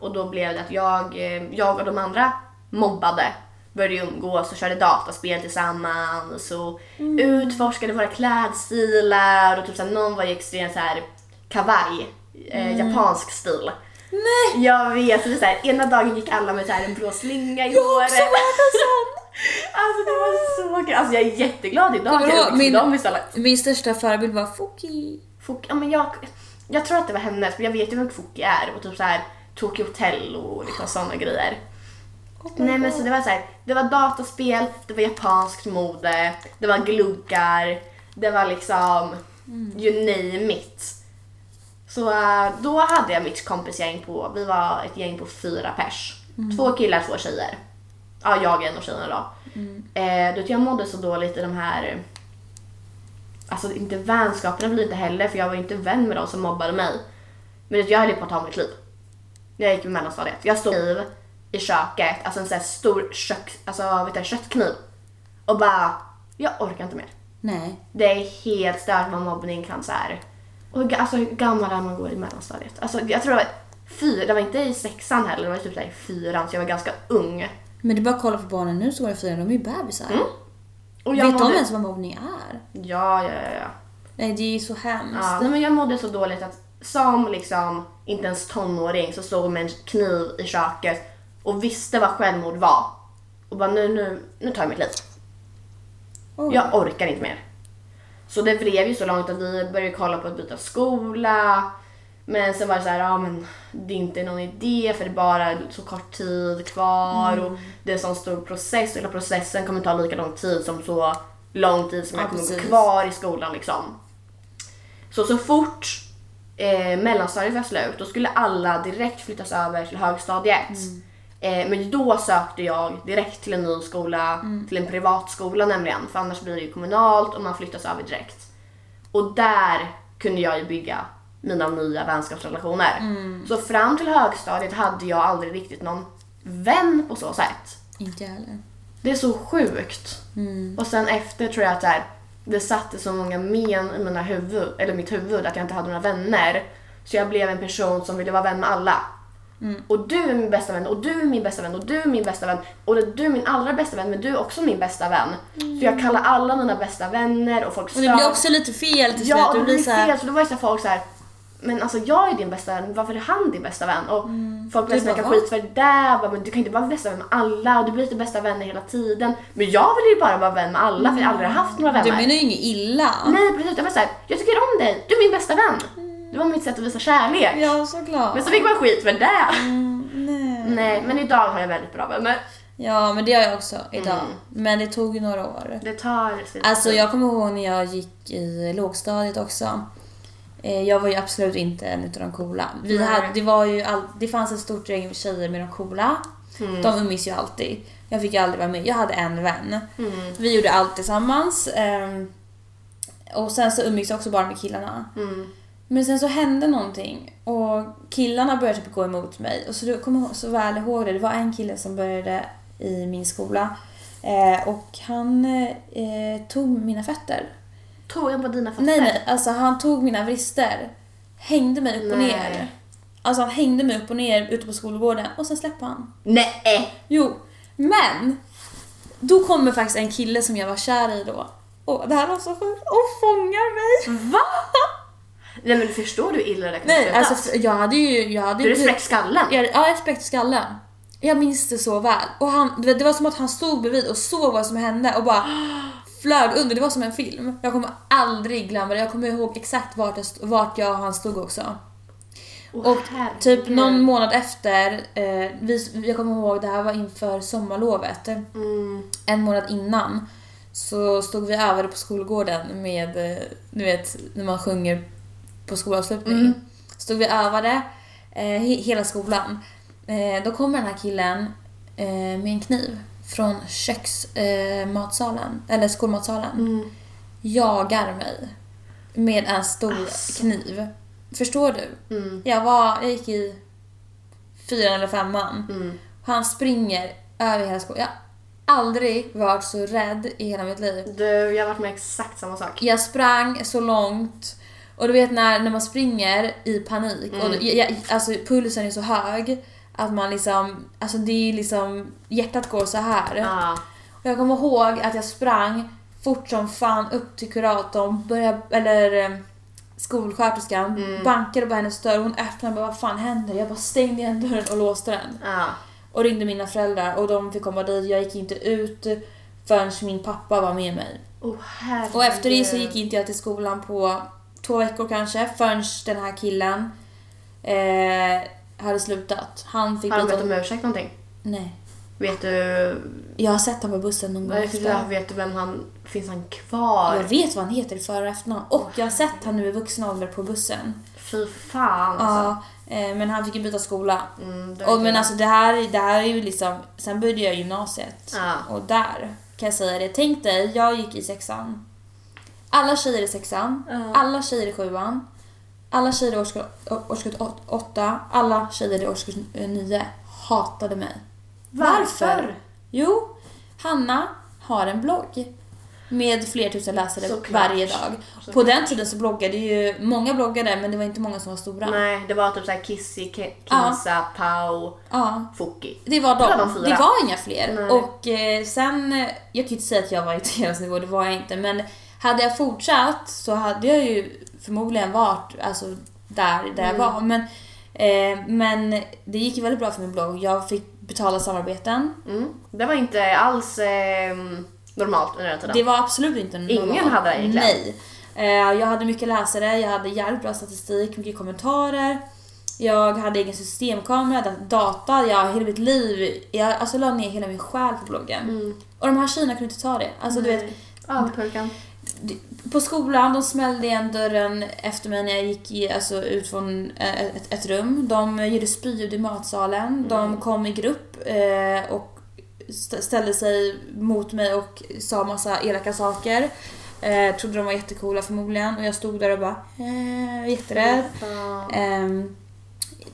B: och då blev det att jag, eh, jag och de andra mobbade började umgås och körde dataspel tillsammans och
A: Mm.
B: utforskade våra klädstilar och typ såhär, någon var ju extremt såhär kavaj, eh,
A: Mm.
B: japansk stil.
A: Nej!
B: Jag vet, så det är såhär, ena dagen gick alla med såhär en blå slinga i
A: Jag har också
B: håret.
A: varit en sån!
B: Alltså det var så kul. Alltså jag är jätteglad idag att
A: Kommer du
B: jag
A: ihåg
B: umgicks
A: min-
B: med dem istället.
A: Min största förebild var Foki.
B: Fok, ja, men jag, jag tror att det var hennes, men jag vet ju vem Foki är och typ så här Tokyo Hotel och liksom sådana grejer. Nej men så det var så här, det var dataspel, det var japanskt mode, det var gluggar, det var liksom you name it. Så eh, då hade jag mitt kompisgäng på, vi var ett gäng på fyra pers. Två killar, två tjejer. Ja, jag en och tjejerna då. Eh, du vet, jag mådde så dåligt i de här Alltså inte vänskaperna blev inte heller för jag var ju inte vän med de som mobbade mig. Men jag höll ju på att ta mitt liv. När jag gick i mellanstadiet. Jag stod kniv i köket, alltså en sån här stor kök, alltså, vet du, köttkniv. Och bara, jag orkar inte mer.
A: Nej.
B: Det är helt stört vad mobbning kan så här. Och ga- alltså hur gammal är man går i mellanstadiet? Alltså jag tror det var fyra, det var inte i sexan heller, det var typ så här i fyran så jag var ganska ung.
A: Men det är bara att kolla på barnen nu så går det fyra, de är ju bebisar.
B: Mm. Och jag
A: Vet de
B: mådde-
A: ens vad mobbning är?
B: Ja, ja, ja. ja.
A: Nej, det är ju så hemskt.
B: Ja, nej, men jag mådde så dåligt att som liksom inte ens tonåring så stod jag med en kniv i köket och visste vad självmord var. Och bara nu, nu, nu tar jag mitt liv.
A: Oj.
B: Jag orkar inte mer. Så det blev ju så långt att vi började kolla på att byta skola. Men sen var det så här, ja men det är inte någon idé för det är bara så kort tid kvar
A: Mm.
B: och det är en sån stor process. Hela processen kommer ta lika lång tid som så lång tid som
A: Ja,
B: jag kommer gå
A: precis.
B: kvar i skolan liksom. Så så fort eh, mellanstadiet var slut då skulle alla direkt flyttas över till högstadiet. Eh, men då sökte jag direkt till en ny skola, till en privatskola nämligen. För annars blir det ju kommunalt och man flyttas över direkt. Och där kunde jag ju bygga mina nya vänskapsrelationer. Så fram till högstadiet hade jag aldrig riktigt någon vän på så sätt.
A: Inte jag heller.
B: Det är så sjukt.
A: Mm.
B: Och sen efter tror jag att så här, det satte så många men i mina huvud, eller mitt huvud att jag inte hade några vänner. Så jag blev en person som ville vara vän med alla.
A: Mm.
B: Och du är min bästa vän och du är min bästa vän och du är min bästa vän och du är min allra bästa vän men du är också min bästa vän. Så jag kallar alla mina bästa vänner och folk
A: Mm. Och det blir också lite fel till
B: Ja, och
A: slut.
B: det
A: Det blir
B: blir
A: så här,
B: fel. Så då var det så här folk så här. Men alltså jag är din bästa vän, varför är han din bästa vän? Och folk började
A: Mm. Du bara,
B: snacka
A: "Va?"
B: skit för det där. Bara, Men du kan inte bara vara bästa vän med alla och du blir inte bästa vänner hela tiden. Men jag vill ju bara vara vän med alla för jag har aldrig haft några vänner.
A: Mm. du menar ju inget illa.
B: Nej precis, jag var såhär, jag tycker om dig, du är min bästa vän. Det var mitt sätt att visa kärlek.
A: Mm. Ja, Mm. såklart.
B: Men så fick man skit för det.
A: Nej.
B: Nej, men idag har jag väldigt bra vänner.
A: Ja, men det gör jag också
B: Mm.
A: idag. Men det tog ju några år.
B: Det tar sin
A: Alltså
B: tid.
A: jag kommer ihåg när jag gick i lågstadiet också. Eh, Jag var ju absolut inte en utav de coola. Vi
B: Nej.
A: hade, det, var ju all, det fanns ett stort gäng tjejer med de coola.
B: Mm.
A: De umgicks ju alltid. Jag fick ju aldrig vara med. Jag hade en vän.
B: Mm.
A: Vi gjorde allt tillsammans. ehm, Och sen så umgicks jag också bara med killarna.
B: Mm.
A: Men sen så hände någonting och killarna började typ gå emot mig. Och så du kommer jag ihåg- så väl ihåg det. Det var en kille som började i min skola eh, och han eh, tog mina fötter.
B: Tog jag på dina fötter?
A: Nej, nej. Alltså han tog mina vrister, hängde mig upp och
B: Nej.
A: ner. Alltså han hängde mig upp och ner ute på skolgården och sen släppte han.
B: Nej!
A: Jo, men då kommer faktiskt en kille som jag var kär i då. Och det här var så sjukt. Och fångar mig!
B: Va? Nej men förstår du hur illa det kan
A: Nej,
B: sluta?
A: alltså för- jag hade ju... Jag hade
B: du
A: ju
B: respekt skallen.
A: Ja, ja, jag spräckte skallen. Jag minns det så väl. Och han, du vet, det var som att han stod bredvid och såg vad som hände och bara flög under. Det var som en film. Jag kommer aldrig glömma det. Jag kommer ihåg exakt vart jag, st- vart jag och han stod också.
B: Åh,
A: Och
B: herregud.
A: typ någon månad efter, eh, vi, jag kommer ihåg det här var inför sommarlovet,
B: Mm.
A: eh, en månad innan så stod vi över på skolgården med, eh, du vet när man sjunger på skolavslutning. Stod vi övade eh, he- hela skolan. Eh, då kommer den här killen eh, med en kniv från köksmatsalen, eh, matsalen, eller skolmatsalen.
B: Mm.
A: Jagar mig med en stor
B: Alltså.
A: kniv. Förstår du?
B: Mm.
A: Jag, var, jag gick i fyran eller femman.
B: Mm.
A: Han springer över hela skolan. Jag har aldrig varit så rädd i hela mitt liv.
B: Du, jag har varit med exakt samma sak.
A: Jag sprang så långt och du vet när, när man springer i panik
B: Mm.
A: och jag, jag, alltså pulsen är så hög att man liksom, alltså det är liksom, hjärtat går så här.
B: Ja.
A: Och jag kommer ihåg att jag sprang fort som fan upp till kuratorn, började, eller eh, skolsköterskan, bankade på hennes dörr, hon öppnade och bara vad fan händer? Jag bara stängde igen dörren och låste den.
B: Ja.
A: Och ringde mina föräldrar och de fick komma dit. Jag gick inte ut förrän min pappa var med mig.
B: Oh, herregud.
A: Och efter det så gick inte jag till skolan på två veckor kanske förrän den här killen eh, hade slutat. Han fick
B: Har de
A: lite-
B: bett om ursäkt någonting?
A: Nej.
B: Vet du...
A: Jag har sett honom på bussen någon gång
B: Varför
A: efter.
B: vet du vem han... Finns han kvar?
A: Jag vet vad han heter i för och efternamn och jag har sett honom nu i vuxen ålder på bussen.
B: Fy fan alltså.
A: Ja, eh, men han fick ju byta skola.
B: Mm, det är
A: Och, men
B: det.
A: alltså det här, det här är ju liksom, sen började jag gymnasiet
B: Ja.
A: och där kan jag säga det. Tänk dig, jag gick i sexan. Alla tjejer i sexan,
B: Ja.
A: alla tjejer i sjuan, alla tjejer i årskurs, årskurs åt- åtta, alla tjejer i årskurs eh, nio hatade mig. Jo, Hanna har en blogg med flera tusen läsare
B: Såklart.
A: varje dag.
B: Såklart.
A: På den tiden så bloggade ju många bloggade men det var inte många som var stora.
B: Nej, det var typ såhär Kissy, Ke- Kinsa, Pau,
A: Ja.
B: Foki.
A: Det var de.
B: Det
A: Det
B: var
A: var,
B: de fyra.
A: inga fler.
B: Nej.
A: Och eh, sen, eh, jag kan ju inte säga att jag var i deras nivå, det var jag inte. Men hade jag fortsatt så hade jag ju förmodligen varit alltså, där, där
B: Mm.
A: jag var. Men, eh, men det gick ju väldigt bra för min blogg. Jag fick betala samarbeten.
B: Mm. Det var inte alls eh, normalt under den tiden.
A: Det var absolut inte någon
B: Ingen hade det egentligen.
A: Nej. Eh, Jag hade mycket läsare, jag hade jävligt bra statistik, mycket kommentarer. Jag hade egen systemkamera, jag hade data, jag hela mitt liv. Jag alltså, la ner hela min själ på bloggen.
B: Mm.
A: Och de här tjejerna kunde inte ta det. Alltså, du vet,
B: Avundsjukan.
A: på skolan, de smällde igen dörren efter mig när jag gick i, alltså, ut från eh, ett, ett rum. De gjorde spyljud i matsalen. De kom i grupp eh, och st- ställde sig mot mig och sa massa elaka saker. Eh, trodde de var jättecoola förmodligen och jag stod där och bara eh, jätterädd.
B: Ja.
A: Ehm,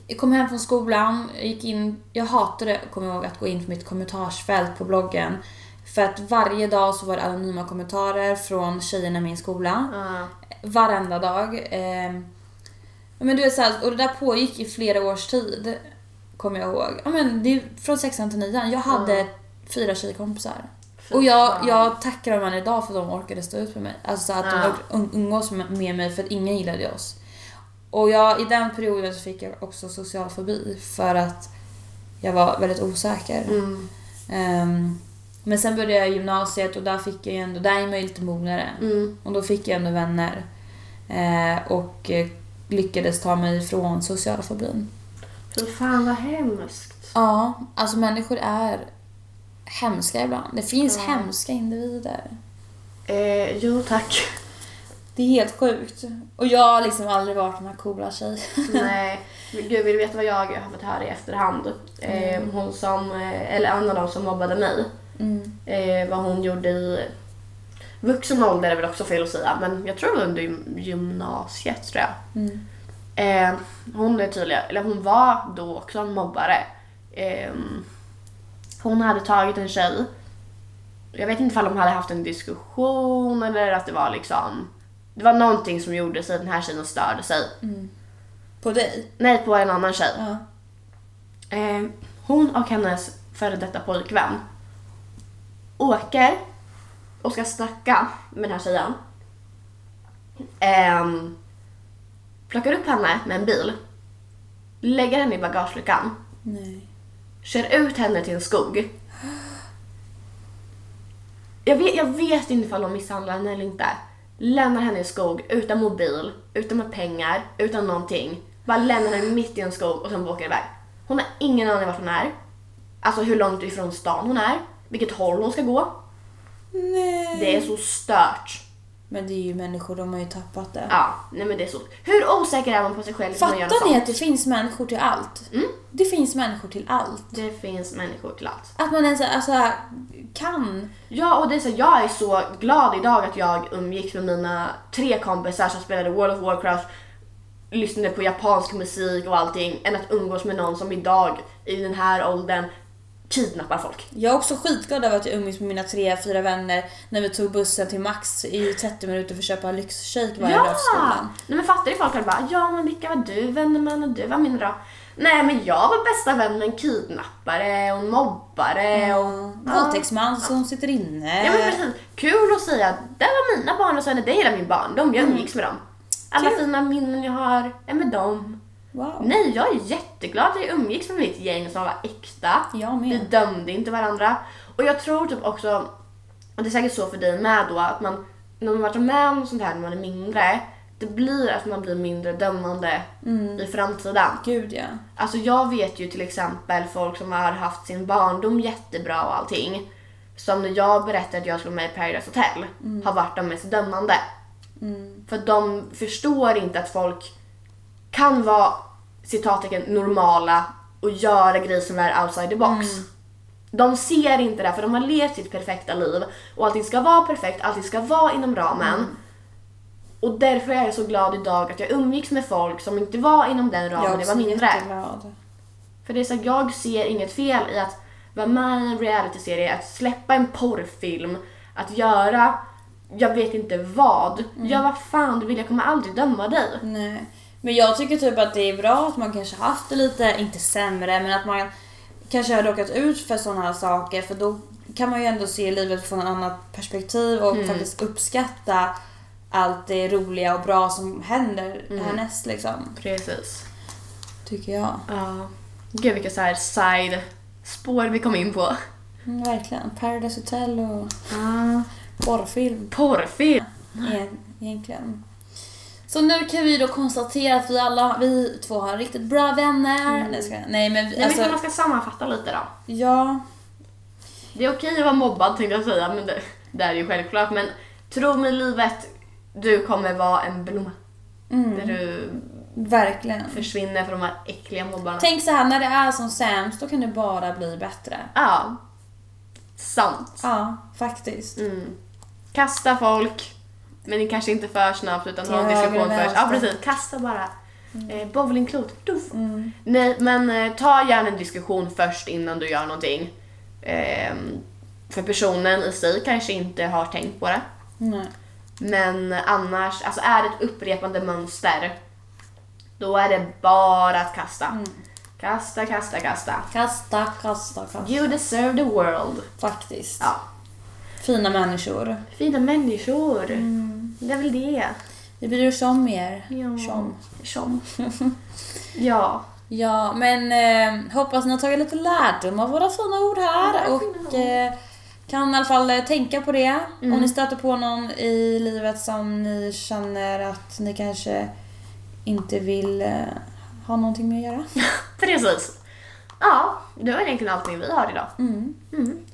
A: jag kom hem från skolan, jag gick in, jag hatade, kommer jag ihåg, att gå in på mitt kommentarsfält på bloggen. För att varje dag så var det anonyma kommentarer från tjejerna i min skola.
B: Ja.
A: Varenda dag. Ehm, ja, men du vet, så här, och det där pågick i flera års tid, kommer jag ihåg. Ja, men det är från sexan till nian. Jag hade fyra tjejkompisar.
B: Fy
A: Och jag,
B: fan.
A: jag tackar dem än idag för att de orkade stå ut med mig. Alltså att de
B: Ja.
A: orkade um- umgås med med mig för att ingen gillade oss. Och jag, i den perioden så fick jag också social fobi för att jag var väldigt osäker.
B: Mm.
A: Ehm, men sen började jag gymnasiet och där fick jag ju ändå, där är man ju lite mognare.
B: Mm.
A: Och då fick jag ändå vänner. Eh, och eh, lyckades ta mig ifrån sociala fobin.
B: Fy fan vad hemskt.
A: Ja, alltså människor är hemska ibland. Det finns
B: Ja.
A: hemska individer.
B: Eh, jo tack.
A: Det är helt sjukt. Och jag har liksom aldrig varit den här coola tjejen.
B: Nej. Men Gud, vill du veta vad jag har fått höra i efterhand? Eh, hon som, eh, eller en av dem som mobbade mig.
A: Mm.
B: Eh, vad hon gjorde i vuxen ålder är väl också fel att säga, men jag tror det var under gym- gymnasiet tror jag.
A: Mm.
B: Eh, hon är tydligen, eller hon var då också en mobbare. Eh, hon hade tagit en tjej. Jag vet inte ifall de hade haft en diskussion eller att det var liksom... Det var någonting som gjorde sig att den här tjejen störde sig.
A: På dig?
B: Nej, på en annan tjej.
A: Ja.
B: Eh, hon och hennes före detta pojkvän åker och ska snacka med den här tjejen. Ehm, plockar upp henne med en bil, lägger henne i bagageluckan,
A: Nej.
B: kör ut henne till en skog. Jag vet, jag vet inte ifall de misshandlar henne eller inte. Lämnar henne i en skog utan mobil, utan med pengar, utan någonting. Bara lämnar henne mitt i en skog och sen bara åker iväg. Hon har ingen aning vart hon är. Alltså hur långt ifrån stan hon är. Vilket håll hon ska gå.
A: Nej.
B: Det är så stört.
A: Men det är ju människor, de har ju tappat det.
B: Ja, nej men det är så. Hur osäker är man på sig själv när man gör
A: Fattar ni
B: sånt?
A: att det finns människor till allt? Det finns människor till allt.
B: Det finns människor till allt.
A: Att man ens alltså, kan.
B: Ja, och det är så, jag är så glad idag att jag umgicks med mina tre kompisar som spelade World of Warcraft, lyssnade på japansk musik och allting, än att umgås med någon som idag, i den här åldern, kidnappar folk.
A: Jag är också skitglad över att jag umgicks med mina tre, fyra vänner när vi tog bussen till Max i 30 minuter för att köpa lyxshake varje dag efter skolan.
B: Nej men fattar du folk hade bara ja men vilka var du vänner med och du var min då? Nej men jag var bästa vän med en kidnappare och en mobbare
A: Mm.
B: och...
A: Våldtäktsman som sitter inne.
B: Ja men precis. Kul att säga att det var mina barn och sen är det hela min barndom, jag umgicks med dem. Alla
A: Mm. Kul.
B: fina minnen jag har är med dem.
A: Wow.
B: Nej, jag är jätteglad att jag umgicks med mitt gäng som var äkta.
A: Jag med.
B: Vi dömde inte varandra. Och jag tror typ också, och det är säkert så för dig med då, att man, när man varit med om sånt här när man är mindre, det blir att man blir mindre dömande
A: Mm.
B: i framtiden.
A: Gud ja.
B: Alltså jag vet ju till exempel folk som har haft sin barndom jättebra och allting. Som när jag berättade att jag skulle vara med i Paradise Hotel
A: Mm.
B: har varit de mest dömande. För de förstår inte att folk kan vara citattecken normala och göra grejer som är outside the box.
A: Mm.
B: De ser inte det för de har levt sitt perfekta liv och allting ska vara perfekt, allting ska vara inom ramen.
A: Mm.
B: Och därför är jag så glad idag att jag umgicks med folk som inte var inom den ramen,
A: jag
B: det
A: också
B: var mindre.
A: jätteglad.
B: För det är så att jag ser inget fel i att vara med i en realityserie, att släppa en porrfilm, att göra jag vet inte vad. Gör vad fan du vill, jag kommer aldrig döma dig.
A: Nej. Men jag tycker typ att det är bra att man kanske haft det lite, inte sämre, men att man kanske har råkat ut för sådana här saker för då kan man ju ändå se livet från ett annat perspektiv och
B: Mm.
A: faktiskt uppskatta allt det roliga och bra som händer
B: Mm.
A: härnäst liksom.
B: Precis.
A: Tycker jag.
B: Ja. Gud vilka så här side spår vi kom in på.
A: Mm, verkligen. Paradise Hotel och porrfilm.
B: Porrfilm.
A: e- egentligen. Så nu kan vi då konstatera att vi alla, vi två har riktigt bra vänner. Nej, ska, nej men, vi,
B: Mm. Nej, men
A: alltså,
B: om man ska sammanfatta lite då.
A: ja.
B: Det är okej att vara mobbad tänkte jag säga, men det, det är ju självklart. Men tro mig livet, du kommer vara en blomma.
A: Mm,
B: När du
A: verkligen.
B: försvinner från de här äckliga mobbarna.
A: Tänk så här, när det är som sämst då kan det bara bli bättre.
B: Ja. Sant.
A: Ja, faktiskt.
B: Mm. Kasta folk, men kanske inte för snabbt utan ha en
A: Till höger
B: diskussion
A: och
B: först.
A: vänster.
B: Ja precis, kasta bara. Eh, bowlingklot, duff. Nej men eh, ta gärna en diskussion först innan du gör någonting. Ehm, för personen i sig kanske inte har tänkt på det.
A: Nej.
B: Men annars, alltså är det ett upprepande mönster, då är det bara att kasta. Kasta, kasta, kasta.
A: Kasta, kasta, kasta.
B: You deserve the world.
A: Faktiskt.
B: Ja.
A: Fina människor.
B: Fina människor. Det är väl det.
A: Vi bryr oss om er.
B: Ja.
A: Som.
B: Som. ja.
A: Ja, men eh, hoppas ni har tagit lite lärdom av våra fina ord här
B: Ja,
A: och
B: fina ord. Mm.
A: eh, kan i alla fall eh, tänka på det. Om ni stöter på någon i livet som ni känner att ni kanske inte vill eh, ha någonting med att göra.
B: Precis. Ja, det var egentligen allting vi har idag.
A: Mm.
B: Mm.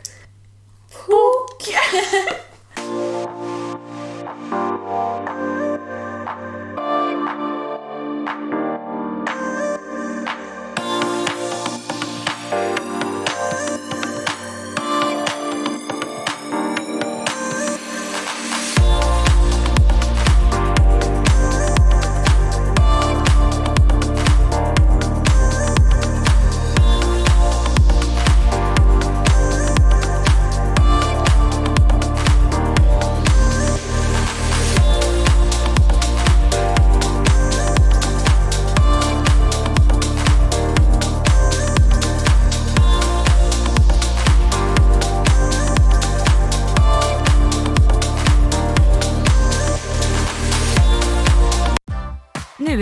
C: Nu